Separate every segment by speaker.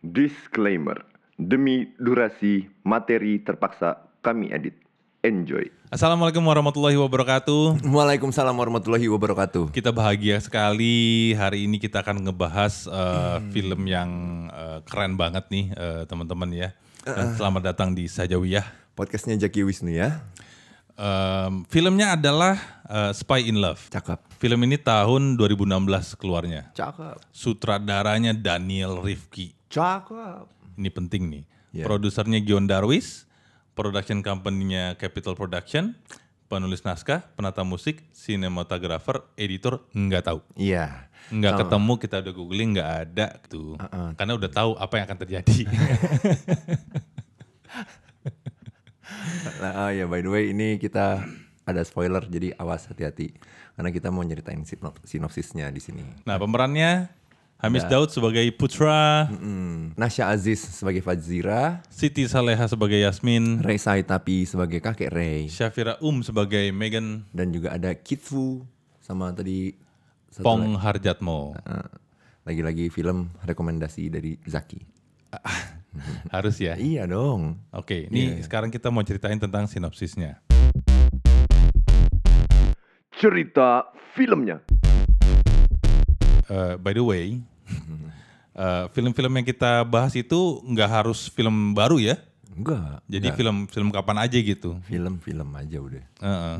Speaker 1: Disclaimer. Demi durasi materi terpaksa kami edit. Enjoy.
Speaker 2: Assalamualaikum warahmatullahi wabarakatuh.
Speaker 3: Waalaikumsalam warahmatullahi wabarakatuh.
Speaker 2: Kita bahagia sekali hari ini kita akan ngebahas eh, film yang eh, keren banget nih eh, teman-teman ya. Dan selamat datang di Sajawiyah.
Speaker 3: Podcastnya Jaki Wisnu ya.
Speaker 2: Em, filmnya adalah eh, Spy in Love.
Speaker 3: Cakep.
Speaker 2: Film ini tahun 2016 keluarnya.
Speaker 3: Cakep.
Speaker 2: Sutradaranya Daniel Rifki.
Speaker 3: Cakep.
Speaker 2: Ini penting nih.
Speaker 3: Iya.
Speaker 2: Produsernya Gion Darwis, production company-nya Capital Production, penulis naskah, penata musik, cinematographer, editor nggak tahu.
Speaker 3: Iya.
Speaker 2: Nggak ketemu kita udah googling nggak ada tuh. Karena udah tahu apa yang akan terjadi.
Speaker 3: Nah, oh ya by the way ini kita ada spoiler jadi awas hati-hati karena kita mau nyeritain sinop- sinopsisnya di sini.
Speaker 2: nah, pemerannya Hamis Daud sebagai Putra,
Speaker 3: Mm. Nasya Aziz sebagai Fadzira,
Speaker 2: Siti Saleha sebagai Yasmin,
Speaker 3: Ray Saitapi sebagai kakek Ray
Speaker 2: Syafira Um sebagai Megan,
Speaker 3: dan juga ada Kitfu sama tadi satu lagi.
Speaker 2: Pong Harjatmo.
Speaker 3: Eh, lagi-lagi film rekomendasi dari Zaki.
Speaker 2: Harus ya.
Speaker 3: Iya dong.
Speaker 2: Oke, ini sekarang kita mau ceritain tentang sinopsisnya.
Speaker 1: Cerita filmnya.
Speaker 2: Uh, by the way, uh, film-film yang kita bahas itu nggak harus film baru ya.
Speaker 3: Enggak.
Speaker 2: Jadi film-film kapan aja gitu.
Speaker 3: film-film aja udah.
Speaker 2: Heeh.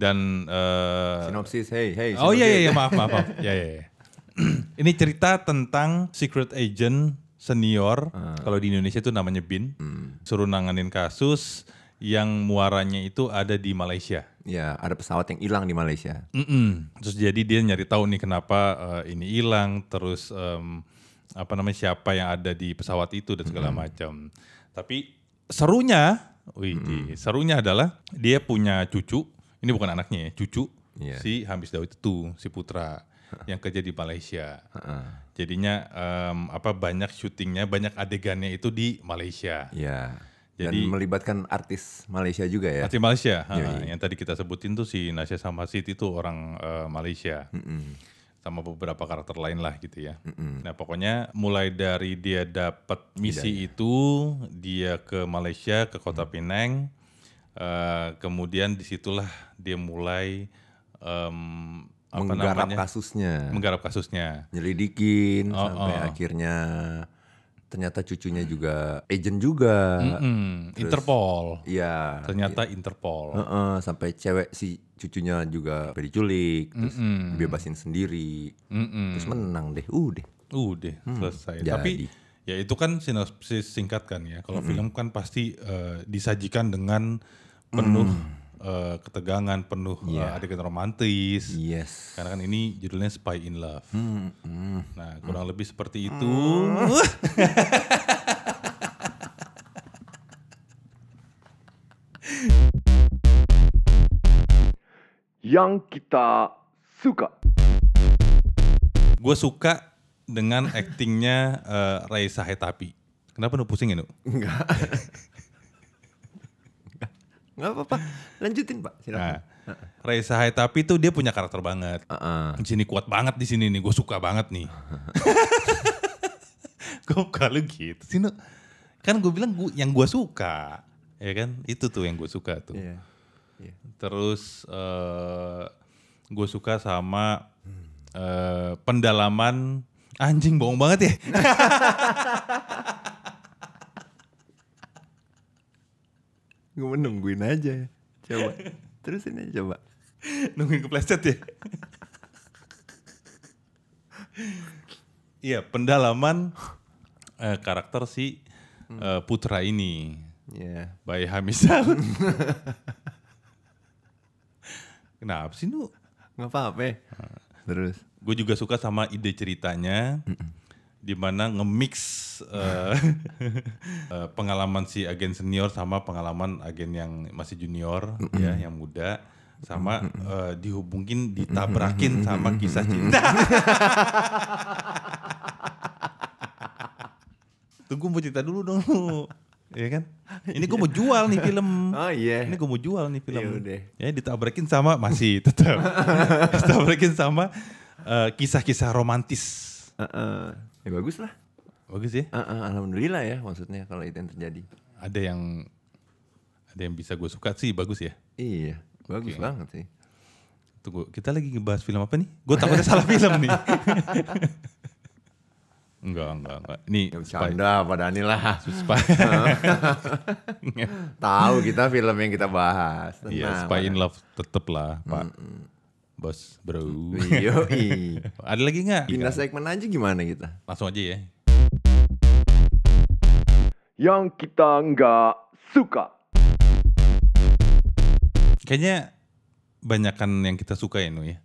Speaker 2: Dan uh,
Speaker 3: Sinopsis, hey, hey.
Speaker 2: oh
Speaker 3: sinopsis.
Speaker 2: iya iya iya, maaf maaf maaf. ya ya. ya. Ini cerita tentang secret agent senior kalau di Indonesia itu namanya Bin suruh nanganin kasus yang muaranya itu ada di Malaysia.
Speaker 3: Ya, ada pesawat yang hilang di Malaysia.
Speaker 2: Mm-mm. Terus jadi dia nyari tahu nih kenapa eh, ini hilang, terus em, apa namanya siapa yang ada di pesawat itu dan segala macam. Tapi serunya, wih, serunya adalah dia punya cucu. Ini bukan anaknya ya, cucu
Speaker 3: Iya.
Speaker 2: si Hamis Daud itu, si putra yang kerja di Malaysia.
Speaker 3: Heeh.
Speaker 2: Jadinya em, apa banyak syutingnya, banyak adegannya itu di Malaysia.
Speaker 3: Ya.
Speaker 2: Jadi-
Speaker 3: Dan melibatkan artis Malaysia juga ya.
Speaker 2: Arti Malaysia, ha, yang tadi kita sebutin tuh si Nasya sama Siti itu orang eh, Malaysia, sama beberapa karakter lain lah gitu ya. Nah pokoknya mulai dari dia dapat
Speaker 3: Iya,
Speaker 2: misi itu, dia ke Malaysia ke
Speaker 3: Mm.
Speaker 2: Kota Penang, eh, kemudian disitulah dia mulai em, apa
Speaker 3: Menggarap
Speaker 2: namanya Oh,
Speaker 3: kasusnya.
Speaker 2: menggarap kasusnya.
Speaker 3: Nyelidikin sampai akhirnya ternyata cucunya juga agent juga.
Speaker 2: Mm, Interpol,
Speaker 3: Eh, Iya.
Speaker 2: ternyata Interpol.
Speaker 3: Heeh, sampai cewek si cucunya juga sampai diculik, terus dibebasin sendiri.
Speaker 2: Mm. Mm-mm.
Speaker 3: Terus menang deh. Uh deh.
Speaker 2: Udah selesai.
Speaker 3: jadi.
Speaker 2: Tapi ya itu kan sinopsis singkat kan ya. Kalau film kan pasti eh, disajikan dengan penuh eh, ketegangan, penuh eh, adegan romantis.
Speaker 3: Yes.
Speaker 2: Karena kan ini judulnya Spy in Love. Nah kurang lebih seperti itu.
Speaker 1: Yang kita suka.
Speaker 2: Gue suka dengan aktingnya eh, Ray Sahetapi. Kenapa nu pusing ya nu?
Speaker 3: Enggak. Enggak apa-apa. Lanjutin, Pak. Silakan.
Speaker 2: Nah, Ray Sahetapi tuh dia punya karakter banget.
Speaker 3: Heeh.
Speaker 2: di sini kuat banget di sini nih gue suka banget nih kok kalau gitu sih Nuk? kan gue bilang gua, yang gue suka ya kan itu tuh yang gue suka tuh
Speaker 3: Iya.
Speaker 2: terus eh gue suka sama eh, pendalaman anjing bohong banget ya
Speaker 3: Gue nungguin aja. Coba. Terusin aja coba.
Speaker 2: nungguin kepleset ya iya pendalaman eh, karakter si eh, putra ini
Speaker 3: Iya.
Speaker 2: by Hamis Daud. Kenapa sih nu?
Speaker 3: Enggak apa-apa. ya? Ah, Terus.
Speaker 2: Gue juga suka sama ide ceritanya, di mana nge-mix eh, eh, pengalaman si agen senior sama pengalaman agen yang masih junior, ya, yang muda, sama eh, dihubungin, ditabrakin sama kisah cinta. Tunggu mau cerita dulu dong, lu. ya kan? Ini gue mau jual nih film.
Speaker 3: Oh iya.
Speaker 2: Ini gue mau jual nih film.
Speaker 3: Yaudah.
Speaker 2: Ya ditabrakin sama masih tetap. ditabrakin sama eh, kisah-kisah romantis.
Speaker 3: Heeh. Ya bagus lah.
Speaker 2: Bagus ya.
Speaker 3: Ah, ah, alhamdulillah ya maksudnya kalau itu yang terjadi.
Speaker 2: Ada yang ada yang bisa gue suka sih bagus ya.
Speaker 3: Iya, bagus banget sih.
Speaker 2: Tunggu, kita lagi ngebahas film apa nih? Gue takutnya salah film nih. enggak, enggak, enggak. Ini
Speaker 3: Ya
Speaker 2: spy.
Speaker 3: bercanda Pak Dani lah.
Speaker 2: spy.
Speaker 3: Tahu kita film yang kita bahas.
Speaker 2: Iya,
Speaker 3: Tenang,
Speaker 2: spy in
Speaker 3: Pak.
Speaker 2: love tetep lah, Pak. Bos, bro.
Speaker 3: Yoi.
Speaker 2: ada lagi nggak?
Speaker 3: Pindah segmen aja gimana kita?
Speaker 2: Langsung aja ya.
Speaker 1: Yang kita nggak suka.
Speaker 2: Kayaknya banyakan yang kita suka ya, Nu ya.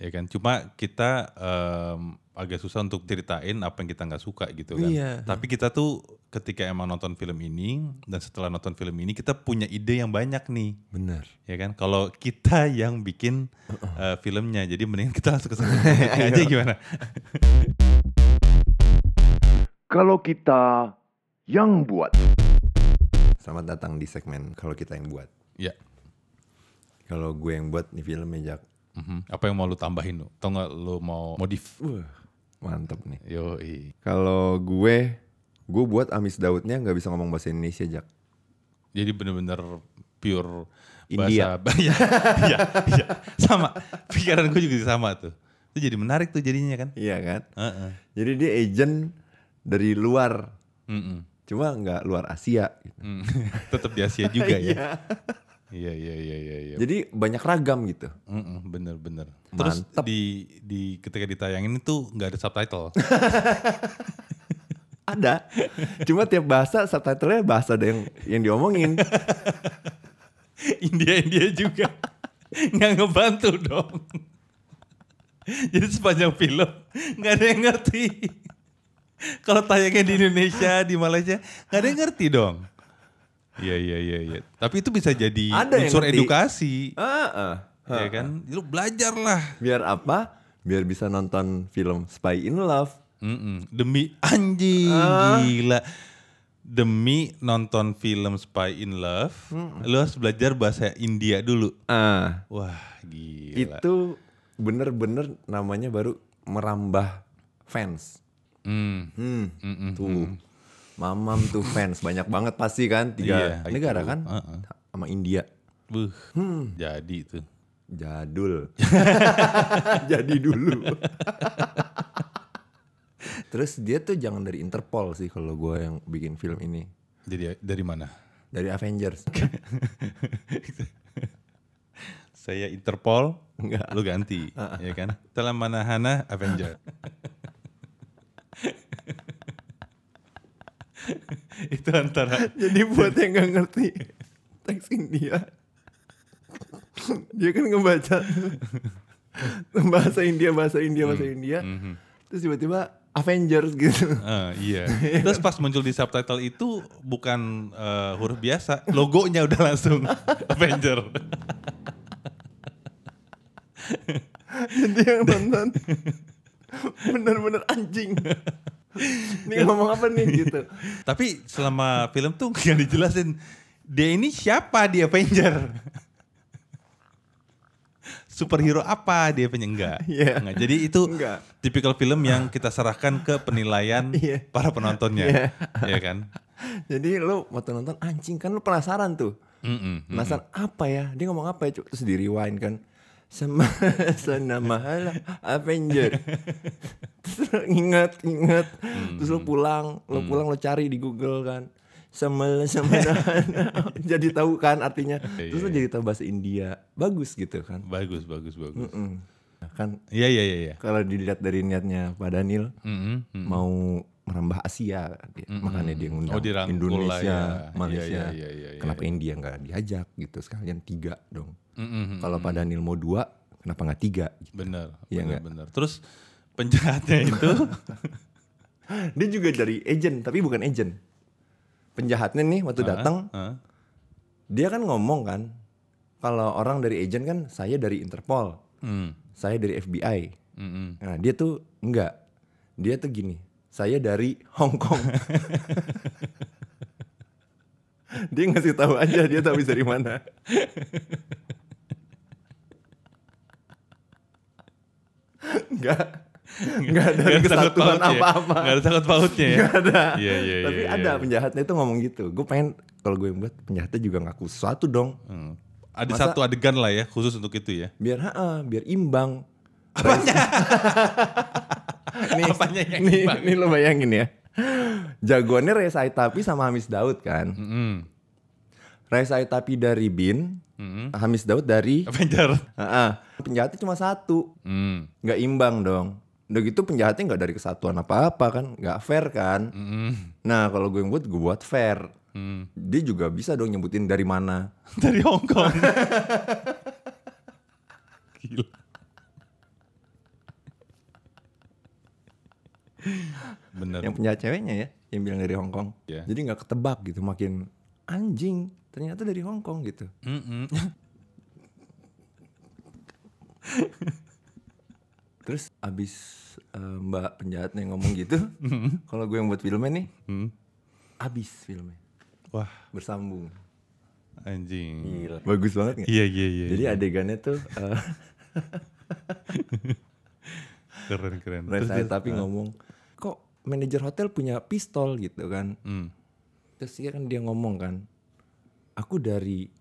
Speaker 2: Ya kan, cuma kita em, agak susah untuk ceritain apa yang kita nggak suka gitu kan.
Speaker 3: Iya.
Speaker 2: Tapi kita tuh ketika emang nonton film ini dan setelah nonton film ini kita punya ide yang banyak nih.
Speaker 3: Bener.
Speaker 2: Ya kan, kalau kita yang bikin eh, filmnya, jadi mendingan kita langsung ke segmen
Speaker 3: Iya.
Speaker 2: aja gimana?
Speaker 1: Kalau kita yang buat.
Speaker 3: Selamat datang di segmen kalau kita yang buat.
Speaker 2: ya,
Speaker 3: Kalau gue yang buat nih filmnya Jak.
Speaker 2: mhm. apa yang mau lu tambahin lu? Atau nggak lu mau modif?
Speaker 3: Wah, mantep nih.
Speaker 2: Yo,
Speaker 3: Kalau gue, gue buat Amis Daudnya nggak bisa ngomong bahasa Indonesia Jak.
Speaker 2: jadi bener-bener pure
Speaker 3: India.
Speaker 2: bahasa. Iya, iya, iya. sama. Pikiran gue juga sama tuh. Itu jadi menarik tuh jadinya kan?
Speaker 3: Iya kan?
Speaker 2: Heeh.
Speaker 3: Jadi dia agent dari luar,
Speaker 2: Mm-mm.
Speaker 3: cuma nggak luar Asia. Gitu.
Speaker 2: Mm. Tetap di Asia juga ya. Iya iya iya iya. iya.
Speaker 3: Jadi banyak ragam gitu.
Speaker 2: Mm-mm, bener bener. Terus
Speaker 3: Mantep.
Speaker 2: di di ketika ditayangin itu nggak ada subtitle.
Speaker 3: Ada. Cuma tiap bahasa subtitlenya bahasa ada yang yang diomongin.
Speaker 2: India India juga nggak ngebantu dong. Jadi sepanjang film nggak ada yang ngerti. Kalau tayangnya di Indonesia di Malaysia nggak ada yang ngerti dong. Iya iya iya iya. Tapi itu bisa jadi
Speaker 3: Ada yang
Speaker 2: unsur
Speaker 3: ngerti.
Speaker 2: edukasi,
Speaker 3: Ah, ah.
Speaker 2: ya kan? Lu belajarlah.
Speaker 3: Biar apa? Biar bisa nonton film Spy in Love.
Speaker 2: Mm-mm. Demi anjing gila. Demi nonton film Spy in Love, lu harus belajar bahasa India dulu.
Speaker 3: Ah,
Speaker 2: Wah, gila.
Speaker 3: itu bener-bener namanya baru merambah fans.
Speaker 2: Mm.
Speaker 3: Hmm, tuh. Mamam tuh fans banyak banget pasti kan tiga
Speaker 2: Iya,
Speaker 3: negara
Speaker 2: itu.
Speaker 3: kan
Speaker 2: Heeh.
Speaker 3: sama India.
Speaker 2: Buh, Hmm. jadi itu.
Speaker 3: Jadul. Jadi dulu. Terus dia tuh jangan dari Interpol sih kalau gue yang bikin film ini.
Speaker 2: Jadi dari mana?
Speaker 3: Dari Avengers.
Speaker 2: Saya Interpol,
Speaker 3: Enggak.
Speaker 2: lu ganti, ya kan? Telah manahana Avenger. itu antara
Speaker 3: Jadi buat yang gak ngerti teks India. dia kan ngebaca bahasa India, bahasa India, bahasa India. Terus tiba-tiba Avengers gitu.
Speaker 2: eh, iya. Terus pas muncul di subtitle itu bukan eh, huruf biasa, logonya udah langsung Avenger.
Speaker 3: Jadi yang nonton bener-bener anjing. Ini ngomong apa nih gitu.
Speaker 2: Tapi selama film tuh nggak dijelasin dia ini siapa di Avenger. Superhero apa dia punya enggak?
Speaker 3: Iya.
Speaker 2: Enggak. Jadi itu
Speaker 3: Enggak.
Speaker 2: tipikal film yang kita serahkan ke penilaian
Speaker 3: Iya.
Speaker 2: para penontonnya. Iya kan?
Speaker 3: Jadi lu waktu nonton anjing kan lu penasaran tuh.
Speaker 2: Mm-mm.
Speaker 3: Penasaran apa ya? Dia ngomong apa ya? Cuk? Terus di rewind kan. Sama sana mahala Avenger. Terus lu inget, inget. Terus lu pulang, lu pulang lu cari di Google kan. Sama sama jadi tahu kan artinya.
Speaker 2: Iya,
Speaker 3: Terus lu jadi tahu bahasa India. Bagus gitu kan.
Speaker 2: Bagus, bagus, bagus.
Speaker 3: Mm. Kan
Speaker 2: Iya, iya, iya, iya.
Speaker 3: kalau dilihat dari niatnya Pak Daniel
Speaker 2: Mm-mm, mm.
Speaker 3: mau merambah Asia dia- makanya dia ngundang
Speaker 2: Oh, dirangkul
Speaker 3: Indonesia,
Speaker 2: lah, ya.
Speaker 3: Malaysia.
Speaker 2: Iya, iya, iya, iya,
Speaker 3: kenapa India nggak diajak gitu sekalian tiga dong.
Speaker 2: Mm-mm.
Speaker 3: Kalau Pak Daniel mau dua, kenapa nggak tiga?
Speaker 2: Bener,
Speaker 3: Iya
Speaker 2: bener,
Speaker 3: enggak?
Speaker 2: bener. Terus penjahatnya itu
Speaker 3: Dia juga dari agent tapi bukan agent. Penjahatnya nih waktu datang
Speaker 2: Hah?
Speaker 3: dia kan ngomong kan kalau orang dari agent kan saya dari Interpol,
Speaker 2: Mm,
Speaker 3: saya dari FBI.
Speaker 2: mm-mm.
Speaker 3: Nah dia tuh enggak, dia tuh gini, saya dari Hong Kong. dia ngasih tahu aja dia tahu habis dari mana. Enggak, nggak ada kesatuan apa-apa.
Speaker 2: ya? Nggak ada takut pautnya ya.
Speaker 3: Nggak ada.
Speaker 2: Iya, iya,
Speaker 3: Tapi
Speaker 2: iya,
Speaker 3: ada
Speaker 2: iya.
Speaker 3: penjahatnya itu ngomong gitu. Gue pengen kalau gue buat penjahatnya juga ngaku sesuatu dong.
Speaker 2: Hmm. Ada
Speaker 3: Masa-
Speaker 2: satu adegan lah ya khusus untuk itu ya.
Speaker 3: Biar ha biar imbang.
Speaker 2: Nih, Apanya ya? yang
Speaker 3: nih,
Speaker 2: Eh, imbang?
Speaker 3: nih lo bayangin ya. Jagoannya Reza Tapi sama Hamis Daud kan.
Speaker 2: Mm-mm.
Speaker 3: Reza Tapi dari Bin,
Speaker 2: Mm-mm.
Speaker 3: Hamis Daud dari
Speaker 2: Avenger.
Speaker 3: ha Penjahatnya cuma satu.
Speaker 2: Mm.
Speaker 3: nggak imbang dong. Udah gitu penjahatnya nggak dari kesatuan apa-apa kan, nggak fair kan.
Speaker 2: Mm-mm.
Speaker 3: Nah kalau gue yang buat gue buat fair.
Speaker 2: Mm.
Speaker 3: Dia juga bisa dong nyebutin dari mana.
Speaker 2: Dari Hong Kong. Gila. Bener.
Speaker 3: Yang penjahat ceweknya ya, yang bilang dari Hong Kong.
Speaker 2: Iya.
Speaker 3: Jadi nggak ketebak gitu, makin anjing. Ternyata dari Hong Kong gitu.
Speaker 2: Mm-mm.
Speaker 3: Terus abis eh, mbak penjahatnya ngomong gitu, kalau gue yang buat filmnya nih,
Speaker 2: Hmm.
Speaker 3: abis filmnya
Speaker 2: Wah,
Speaker 3: bersambung.
Speaker 2: anjing.
Speaker 3: Bagus banget nggak?
Speaker 2: Iya, iya, iya.
Speaker 3: Jadi adegannya tuh eh,
Speaker 2: keren, keren. Terus
Speaker 3: Reza
Speaker 2: dia-
Speaker 3: tapi ngomong eh, kok manajer hotel punya pistol gitu kan
Speaker 2: Hmm.
Speaker 3: terus dia kan dia ngomong kan aku dari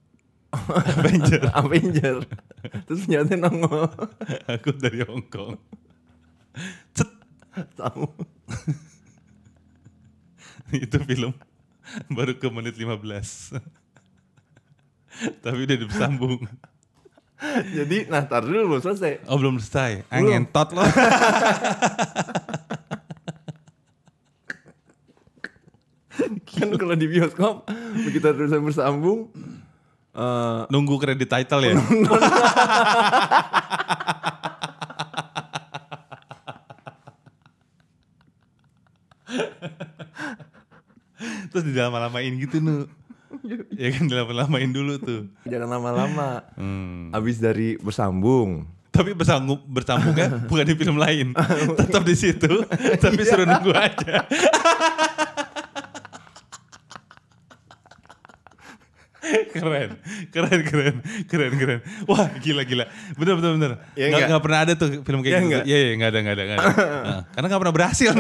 Speaker 3: Avenger Avenger terus nyatanya nongol
Speaker 2: Aku dari Hong Kong.
Speaker 3: tahu
Speaker 2: itu film baru ke menit 15 tapi udah disambung
Speaker 3: jadi nah tar dulu belum selesai
Speaker 2: oh belum selesai Ah,
Speaker 3: Belum.
Speaker 2: ngentot loh
Speaker 3: kan kalau di bioskop begitu terusan bersambung eh
Speaker 2: nunggu kredit title ya terus dilama-lamain gitu nu ya kan dilama-lamain dulu tuh
Speaker 3: jangan lama-lama
Speaker 2: Hmm.
Speaker 3: abis dari bersambung
Speaker 2: tapi bersambung bersambungnya bukan di film lain tetap di situ tapi
Speaker 3: Iya.
Speaker 2: suruh nunggu aja keren keren keren keren keren wah gila gila bener bener bener
Speaker 3: Iya
Speaker 2: nggak
Speaker 3: nggak?
Speaker 2: nggak pernah ada tuh film kayak
Speaker 3: Iya
Speaker 2: gitu
Speaker 3: nggak? Iya,
Speaker 2: iya iya nggak ada nggak ada nggak ada Nah, karena nggak pernah berhasil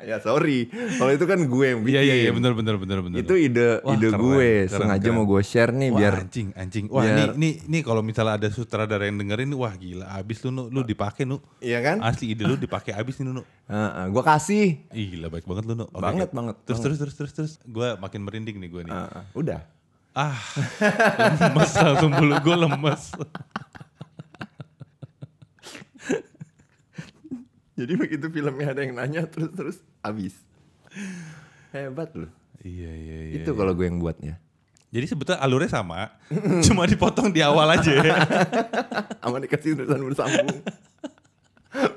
Speaker 3: ya sorry kalau itu kan gue yang bikin
Speaker 2: iya iya iya bener bener bener bener
Speaker 3: itu ide
Speaker 2: Wah,
Speaker 3: ide
Speaker 2: keren,
Speaker 3: gue
Speaker 2: keren,
Speaker 3: sengaja
Speaker 2: keren.
Speaker 3: mau gue share nih
Speaker 2: Wah,
Speaker 3: biar
Speaker 2: anjing anjing wah
Speaker 3: biar-
Speaker 2: ini ini ini kalau misalnya ada sutradara yang dengerin wah gila abis lu Nu. lu dipakai nu
Speaker 3: iya kan
Speaker 2: asli ide lu dipakai abis nih nu Nu.
Speaker 3: Heeh, gue kasih
Speaker 2: Ih gila baik banget lu Nuk. Oke,
Speaker 3: Banget,
Speaker 2: oke.
Speaker 3: banget,
Speaker 2: Terus terus terus terus terus gue makin merinding nih gue nih.
Speaker 3: Heeh, udah
Speaker 2: Ah lemes langsung bulu gue lemes.
Speaker 3: jadi begitu filmnya ada yang nanya terus terus abis hebat loh
Speaker 2: iya iya iya.
Speaker 3: itu kalau gue yang buatnya
Speaker 2: Jadi sebetulnya alurnya sama, cuma dipotong di awal aja. ya.
Speaker 3: aman dikasih urusan bersambung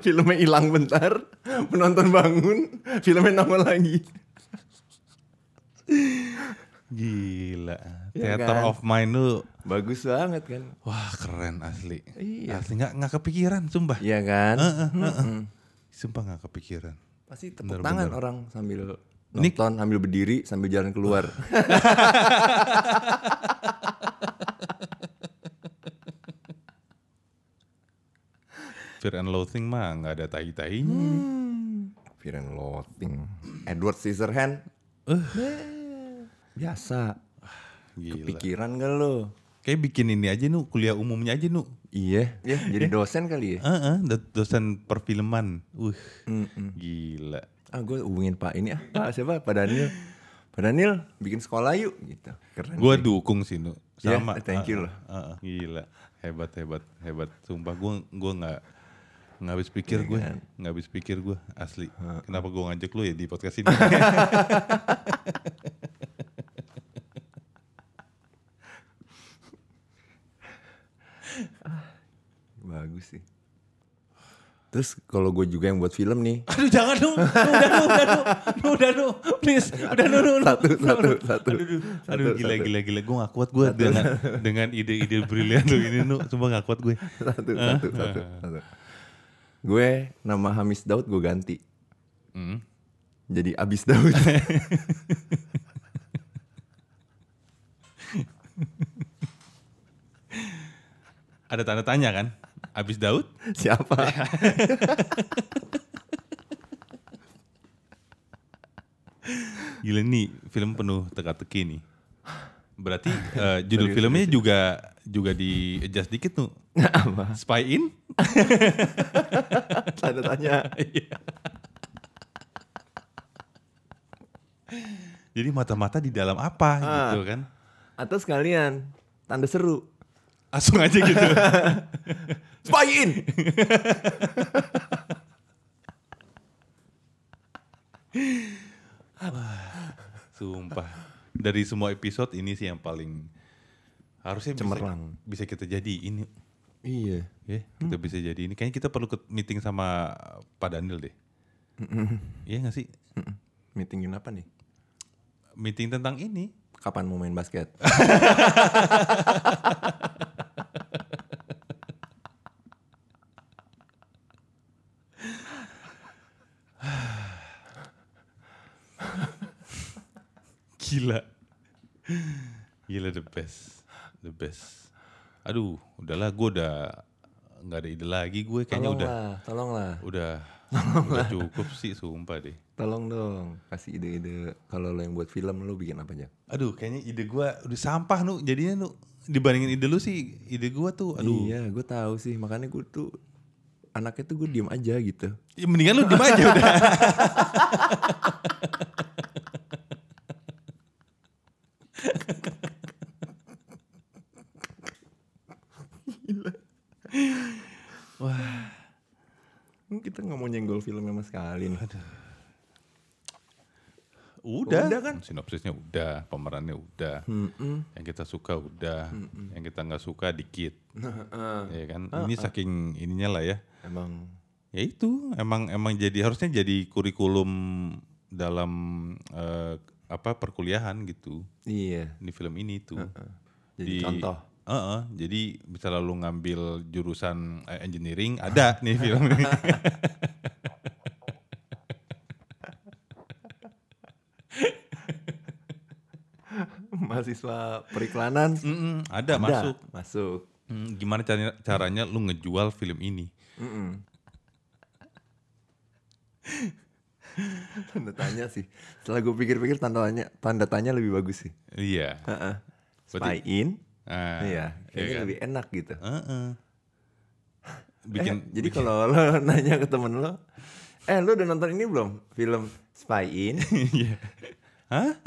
Speaker 3: filmnya hilang bentar penonton bangun filmnya nongol lagi
Speaker 2: gila.
Speaker 3: Iya
Speaker 2: Theater
Speaker 3: kan?
Speaker 2: of mind lu.
Speaker 3: bagus banget kan
Speaker 2: Wah keren asli.
Speaker 3: Iya.
Speaker 2: Asli nggak nggak kepikiran sumpah.
Speaker 3: iya kan
Speaker 2: Heeh, heeh. Sumpah nggak kepikiran.
Speaker 3: pasti tepuk tangan orang sambil
Speaker 2: Ini-
Speaker 3: nonton sambil berdiri sambil jalan keluar
Speaker 2: Fear and Loathing mah nggak ada tai-tainya.
Speaker 3: Hmm, Viren Loting Edward Scissorhand Eh. biasa
Speaker 2: Gila.
Speaker 3: pikiran gak lo
Speaker 2: Kayak bikin ini aja nu kuliah umumnya aja nu.
Speaker 3: Iya,
Speaker 2: Eh.
Speaker 3: ya, jadi dosen kali ya.
Speaker 2: Heeh, do- dosen perfilman. Uh. Gila.
Speaker 3: Ah, gue hubungin Pak ini ah, Pak siapa? Pak Daniel. Pak Daniel, bikin sekolah yuk gitu. Keren.
Speaker 2: Gua dukung sih Nu.
Speaker 3: Iya,
Speaker 2: Sama.
Speaker 3: thank you
Speaker 2: Heeh,
Speaker 3: loh.
Speaker 2: heeh. Gila. Hebat hebat hebat. Sumpah gua gua nggak nggak habis pikir gue, nggak habis pikir gue asli. Kenapa gua ngajak lu ya di podcast ini?
Speaker 3: Bagus sih. Terus kalau gue juga yang buat film nih.
Speaker 2: Aduh jangan Nu, Nu, udah Nu, udah Nu, Nu, udah Nu, please, udah Nu, Nu, Nu.
Speaker 3: Satu,
Speaker 2: Nu,
Speaker 3: satu,
Speaker 2: Nu.
Speaker 3: satu.
Speaker 2: Aduh, aduh, aduh,
Speaker 3: Satu,
Speaker 2: gila,
Speaker 3: satu.
Speaker 2: gila, gila. Gue gak kuat gue dengan dengan ide-ide brilian lu ini Nu, sumpah gak kuat gue.
Speaker 3: Satu,
Speaker 2: ah.
Speaker 3: satu, satu, satu. Gue nama Hamis Daud gue ganti.
Speaker 2: Hmm.
Speaker 3: Jadi Abis Daud.
Speaker 2: Ada tanda tanya kan? Abis Daud?
Speaker 3: Siapa?
Speaker 2: Gila nih film penuh teka-teki nih. Berarti eh, judul filmnya juga juga di adjust dikit tuh.
Speaker 3: Apa?
Speaker 2: Spy in?
Speaker 3: Tanda tanya.
Speaker 2: Iya. Jadi mata-mata di dalam apa
Speaker 3: Ah.
Speaker 2: gitu kan?
Speaker 3: Atau sekalian tanda seru.
Speaker 2: Langsung aja gitu.
Speaker 3: Spy in.
Speaker 2: Sumpah. Dari semua episode ini sih yang paling harusnya bisa-
Speaker 3: Cemerlang.
Speaker 2: Bisa, kita jadi ini.
Speaker 3: iya.
Speaker 2: Ya, kita bisa jadi ini. Kayaknya kita perlu ke meeting sama Pak Daniel deh. Iya gak sih?
Speaker 3: Meetingin apa nih?
Speaker 2: Meeting tentang ini.
Speaker 3: Kapan mau main basket?
Speaker 2: Gila. Gila the best. The best. Aduh, udahlah gue udah nggak ada ide lagi gue kayaknya udah
Speaker 3: tolonglah, tolonglah.
Speaker 2: udah udah cukup sih sumpah deh.
Speaker 3: Tolong dong kasih ide-ide kalau lo yang buat film lo bikin apa aja?
Speaker 2: Aduh, kayaknya ide gue udah sampah nu. Jadinya nu dibandingin ide lu sih, ide gue tuh aduh.
Speaker 3: Iya, gue tahu sih. Makanya gue tuh anaknya tuh gue diem aja gitu.
Speaker 2: Ya, mendingan lu diem aja udah.
Speaker 3: Hmm, Kita nggak mau nyenggol film sama sekali nih.
Speaker 2: Udah.
Speaker 3: Udah kan?
Speaker 2: Sinopsisnya udah, pemerannya udah. Yang kita suka udah, yang kita nggak suka dikit. Iya kan? Ini saking ininya lah ya.
Speaker 3: Emang
Speaker 2: ya itu emang emang jadi harusnya jadi kurikulum dalam eh, apa perkuliahan gitu
Speaker 3: iya.
Speaker 2: di film ini tuh
Speaker 3: Jadi contoh.
Speaker 2: Heeh, jadi bisa lalu ngambil jurusan eh, engineering ada nih film ini
Speaker 3: Mahasiswa periklanan
Speaker 2: Mm-mm, ada,
Speaker 3: ada.
Speaker 2: masuk
Speaker 3: masuk.
Speaker 2: Mm, gimana caranya caranya lu ngejual film ini
Speaker 3: Mm-mm. tanda tanya sih. Setelah gue pikir-pikir tanda tanya, tanda tanya lebih bagus sih.
Speaker 2: iya
Speaker 3: Heeh. Spy
Speaker 2: Berarti-
Speaker 3: in,
Speaker 2: Ah,
Speaker 3: iya,
Speaker 2: iya
Speaker 3: kayaknya
Speaker 2: kan?
Speaker 3: lebih enak gitu.
Speaker 2: Heeh. bikin
Speaker 3: Bikin, jadi kalau lo nanya ke temen lo, eh lo udah nonton ini belum? Film Spy In?
Speaker 2: Iya. Hah?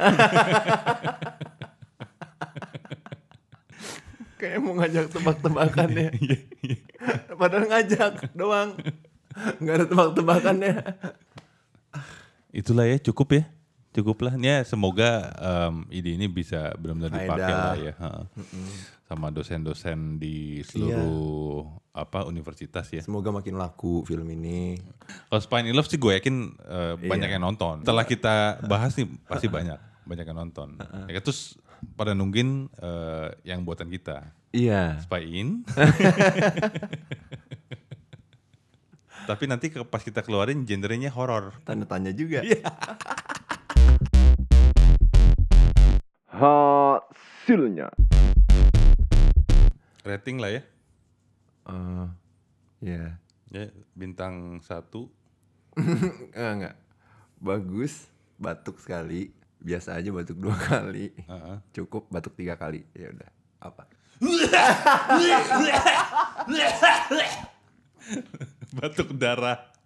Speaker 3: Kayak mau ngajak tebak-tebakannya.
Speaker 2: Iya, iya.
Speaker 3: Padahal ngajak doang. Nggak ada ya. tebak-tebakannya.
Speaker 2: Itulah ya cukup ya. Cukuplah. Ya semoga em, ide ini bisa benar-benar dipakai
Speaker 3: Faedah.
Speaker 2: lah ya. Heeh. Sama dosen-dosen di seluruh apa universitas ya.
Speaker 3: Semoga makin laku film ini.
Speaker 2: Kalau Spine in Love sih gue yakin eh, banyak yang nonton. Setelah kita bahas nih pasti banyak, banyak yang nonton. Ya, terus pada nungguin eh, yang buatan kita.
Speaker 3: Iya.
Speaker 2: Spy in. Tapi nanti ke- pas kita keluarin gendernya horor.
Speaker 3: Tanda tanya juga.
Speaker 2: Iya.
Speaker 1: Hasilnya.
Speaker 2: Rating lah ya.
Speaker 3: Eh, Iya.
Speaker 2: Ya, bintang satu
Speaker 3: Enggak, enggak. Ah, Bagus, batuk sekali. Biasa aja batuk dua kali.
Speaker 2: Heeh.
Speaker 3: Cukup batuk tiga kali. Ya udah. Apa?
Speaker 2: batuk darah